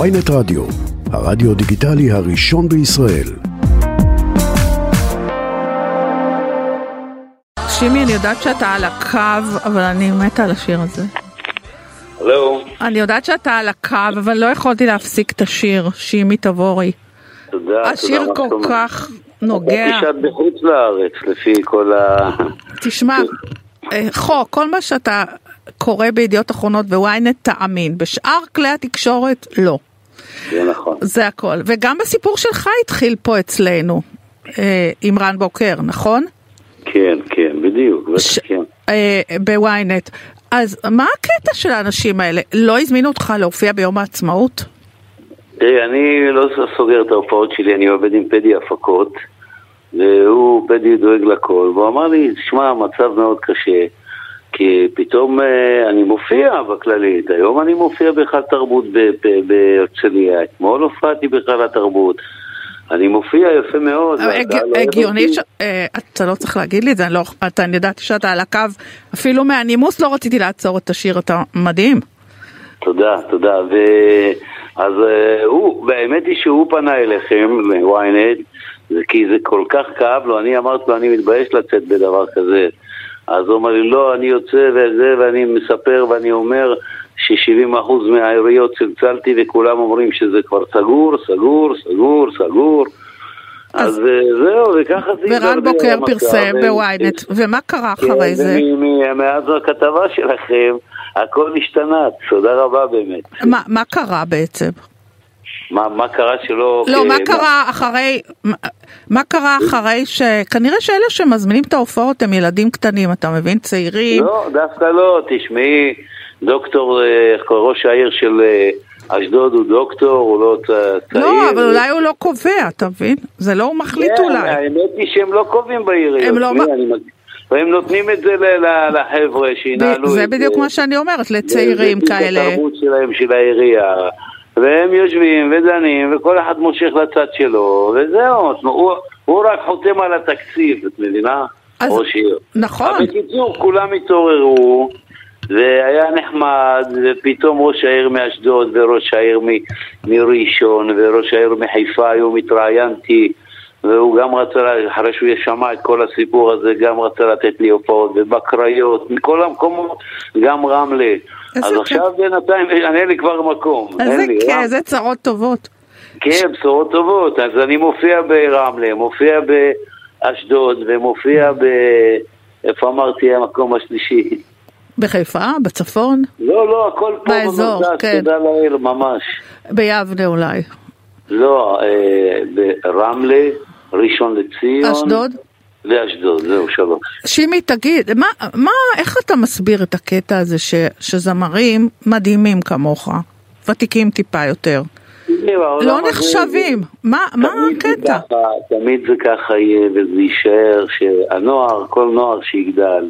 ויינט רדיו, הרדיו דיגיטלי הראשון בישראל. שימי, אני יודעת שאתה על הקו, אבל אני מתה על השיר הזה. הלו, אני יודעת שאתה על הקו, אבל לא יכולתי להפסיק את השיר, שימי תבורי. תודה, אה, תודה. השיר מה כל שאת אומרת. כך נוגע. חשבתי שאת בחוץ לארץ, לפי כל ה... תשמע, אה, חו, כל מה שאתה קורא בידיעות אחרונות ב-ynet תאמין, בשאר כלי התקשורת לא. זה נכון. זה הכל. וגם הסיפור שלך התחיל פה אצלנו, אה, עם רן בוקר, נכון? כן, כן, בדיוק, בטח ש- כן. אה, ב-ynet. אז מה הקטע של האנשים האלה? לא הזמינו אותך להופיע ביום העצמאות? תראי, אני לא סוגר את ההופעות שלי, אני עובד עם פדי הפקות, והוא, פדי דואג לכל, והוא אמר לי, שמע, המצב מאוד קשה, כי פתאום אה, אני מופיע בכללית, היום אני מופיע בהיכל תרבות ב- ב- בהרצליה, אתמול הופעתי בהיכל התרבות, אני מופיע יפה מאוד. אבל והקהל הג- אוהב הגיוני אותי. ש... אה, אתה לא צריך להגיד לי את זה, אני לא... אתה, אני ידעתי שאתה על הקו, אפילו מהנימוס לא רציתי לעצור את השיר, אתה מדהים. תודה, תודה. ו... אז אה, הוא, והאמת היא שהוא פנה אליכם, ל-ynet, זה- כי זה כל כך כאב לו, אני אמרתי לו, אני מתבייש לצאת בדבר כזה. אז הוא אמר לי, לא, אני יוצא וזה, ואני מספר ואני אומר ש-70% מהעיריות צלצלתי וכולם אומרים שזה כבר סגור, סגור, סגור, סגור. אז, אז- אה, זהו, וככה זה ורן הידרדר בוקר המצב, פרסם אה, בוויינט, ומה קרה אחרי זה? כן, ומ- מ- מאז הכתבה שלכם, הכל השתנה, תודה רבה באמת. מה מה קרה בעצם? מה, מה קרה שלא... לא, אה, מה קרה אחרי... מה- מה קרה אחרי ש... כנראה שאלה שמזמינים את ההופעות הם ילדים קטנים, אתה מבין? צעירים. לא, דווקא לא, תשמעי, דוקטור, אה, ראש העיר של אה, אשדוד הוא דוקטור, הוא לא צ- צעיר. לא, אבל אולי הוא לא קובע, אתה מבין? זה לא הוא מחליט כן, אולי. האמת היא שהם לא קובעים בעיריות. הם לא- תראי, אני מג- והם נותנים את זה ל- ל- לחבר'ה שינהלו את זה בדיוק מה שאני אומרת, לצעירים זה- זה כאלה. התרבות שלהם, של העירייה. והם יושבים ודנים, וכל אחד מושך לצד שלו, וזהו. זאת אומרת, הוא, הוא רק חותם על התקציב, את מבינה? אז- ראש עיר. נכון. אבל בקיצור, כולם התעוררו, והיה נחמד, ופתאום ראש העיר מאשדוד, וראש העיר מ- מראשון, וראש העיר מחיפה, היום התראיינתי, והוא גם רצה, לה- אחרי שהוא שמע את כל הסיפור הזה, גם רצה לתת לי הופעות, ובקריות, מכל המקומות, גם רמלה. איזה אז כיף. עכשיו בינתיים, אין אין לי כבר מקום. איזה אין לי, כיף, רמלה. איזה כן, צרות טובות. כן, בשורות טובות. אז אני מופיע ברמלה, מופיע באשדוד, ומופיע ב... איפה אמרתי המקום השלישי? בחיפה, בצפון, לא, לא, הכל פה באזור, במרכז, כן. תודה לאל, ממש. ביבנה אולי. לא, אה, ברמלה, ראשון לציון. אשדוד? ואשדוד, זהו, שלום. שימי, תגיד, מה, מה, איך אתה מסביר את הקטע הזה ש, שזמרים מדהימים כמוך, ותיקים טיפה יותר, לא נחשבים? מה, מה תמיד זה הקטע? ככה, תמיד זה ככה יהיה, וזה יישאר, שהנוער, כל נוער שיגדל,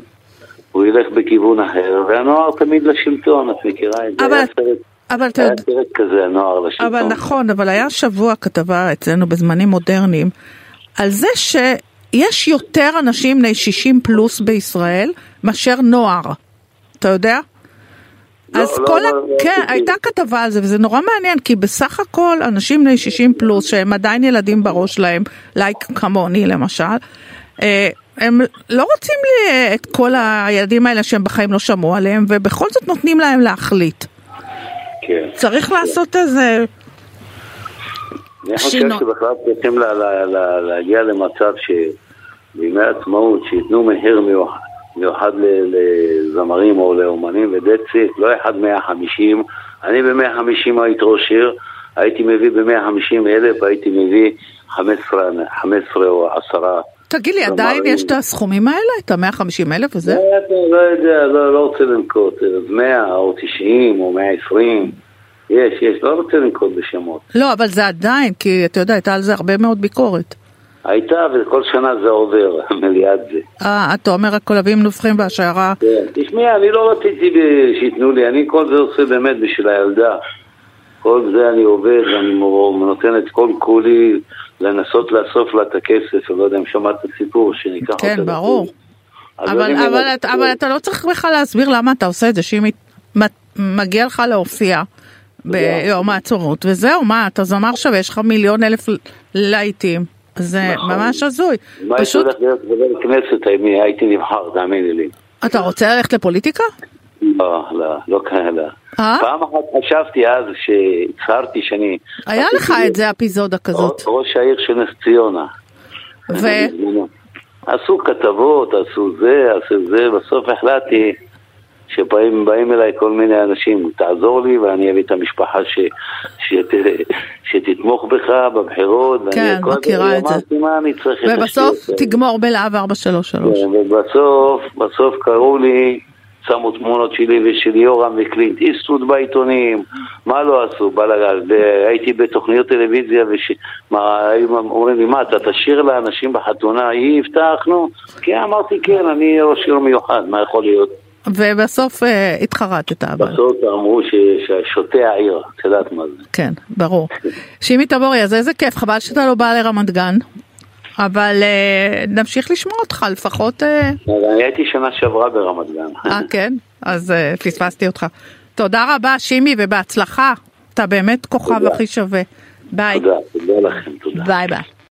הוא ילך בכיוון אחר, והנוער תמיד לשלטון, את מכירה את זה? אבל- היה סרט- אבל אתה היה יודע... סרט כזה, הנוער לשלטון. אבל נכון, אבל היה שבוע כתבה אצלנו בזמנים מודרניים על זה שיש יותר אנשים בני 60 פלוס בישראל מאשר נוער. אתה יודע? לא, אז לא, כל לא, ה... לא כן, עשיתי. הייתה כתבה על זה, וזה נורא מעניין, כי בסך הכל אנשים בני 60 פלוס, שהם עדיין ילדים בראש שלהם, לייק כמוני למשל, אה, הם לא רוצים לי אה, את כל הילדים האלה שהם בחיים לא שמעו עליהם, ובכל זאת נותנים להם להחליט. כן. צריך לעשות איזה... אני חושב שינוי. שבכלל צריכים לה- לה- לה- להגיע למצב שבימי העצמאות, שייתנו מחיר מיוחד. מיוחד ל- לזמרים או לאומנים, ו-that's it, לא אחד 150. אני ב-150 הייתי ראש עיר, הייתי מביא ב-150 אלף, הייתי מביא 15, 15 או 10. תגיד לי, כלומר, עדיין אם- יש את הסכומים האלה? את ה-150 אלף וזה? לא יודע, לא לא רוצה לנקוט, אז 100 או 90 או 120. יש, יש, לא רוצה לנקוט בשמות. לא, אבל זה עדיין, כי אתה יודע, הייתה על זה הרבה מאוד ביקורת. הייתה, וכל שנה זה עובר, מליאת זה. אה, אתה אומר הכלבים נובחים והשיירה... כן. תשמעי, אני לא רציתי ב- שייתנו לי, אני כל זה עושה באמת בשביל הילדה. כל זה אני עובד, ואני מור- נותן את כל כולי לנסות לאסוף לה את הכסף, אני לא יודע אם שמעת את הסיפור, שניקח אותה. כן, לחו"ל. ברור. אז אבל, אני אבל, לא מנסה- אתה- אבל אתה לא צריך בכלל להסביר למה אתה עושה את זה, שאם מת- מגיע לך להופיע, ביום העצורות, וזהו, מה, אתה זמר שווה, יש לך מיליון אלף להיטים. זה נכון. ממש הזוי. מה יש פשוט, לך להיות חבר כנסת, אני הייתי נבחר, תאמיני לי. אתה רוצה ללכת לפוליטיקה? לא, לא, לא כאלה. אה? פעם אחת חשבתי אז, שהצהרתי שאני... היה לך את זה, אפיזודה כזאת. ראש העיר של נס ציונה. ו... לא- עשו כתבות, עשו זה, עשו זה, בסוף החלטתי שבאים באים אליי כל מיני אנשים, תעזור לי ואני אביא את המשפחה ש, שת, שתתמוך בך בבחירות. ואני- כן, כל הזמן מכירה את זה. אמרתי, מה אני צריך את ובסוף השטויות האלה?" תגמור בלהב 433. כן, ובסוף, בסוף קראו לי, שמו תמונות שלי ושל יורם וקלינט איסטוד בעיתונים, מה לא עשו, בלאגן, הייתי בתוכניות טלוויזיה והיו אומרים לי, מה, אתה תשאיר לאנשים בחתונה, היא הבטחנו? כן, אמרתי, כן, אני ראש עיר מיוחד, מה יכול להיות? ובסוף אה, התחרטת אבל. בסוף אמרו ש- ששוטה העיר, את יודעת מה זה. כן, ברור. שימי תבורי, אז איזה כיף, חבל שאתה לא בא לרמת גן. אבל אה, נמשיך לשמוע אותך לפחות... אה, אבל אני הייתי שנה שעברה ברמת גן. אה, כן? אז אה, פספסתי אותך. תודה רבה, שימי, ובהצלחה. אתה באמת כוכב תודה. הכי שווה. ביי. תודה, תודה לכם, תודה. ביי ביי.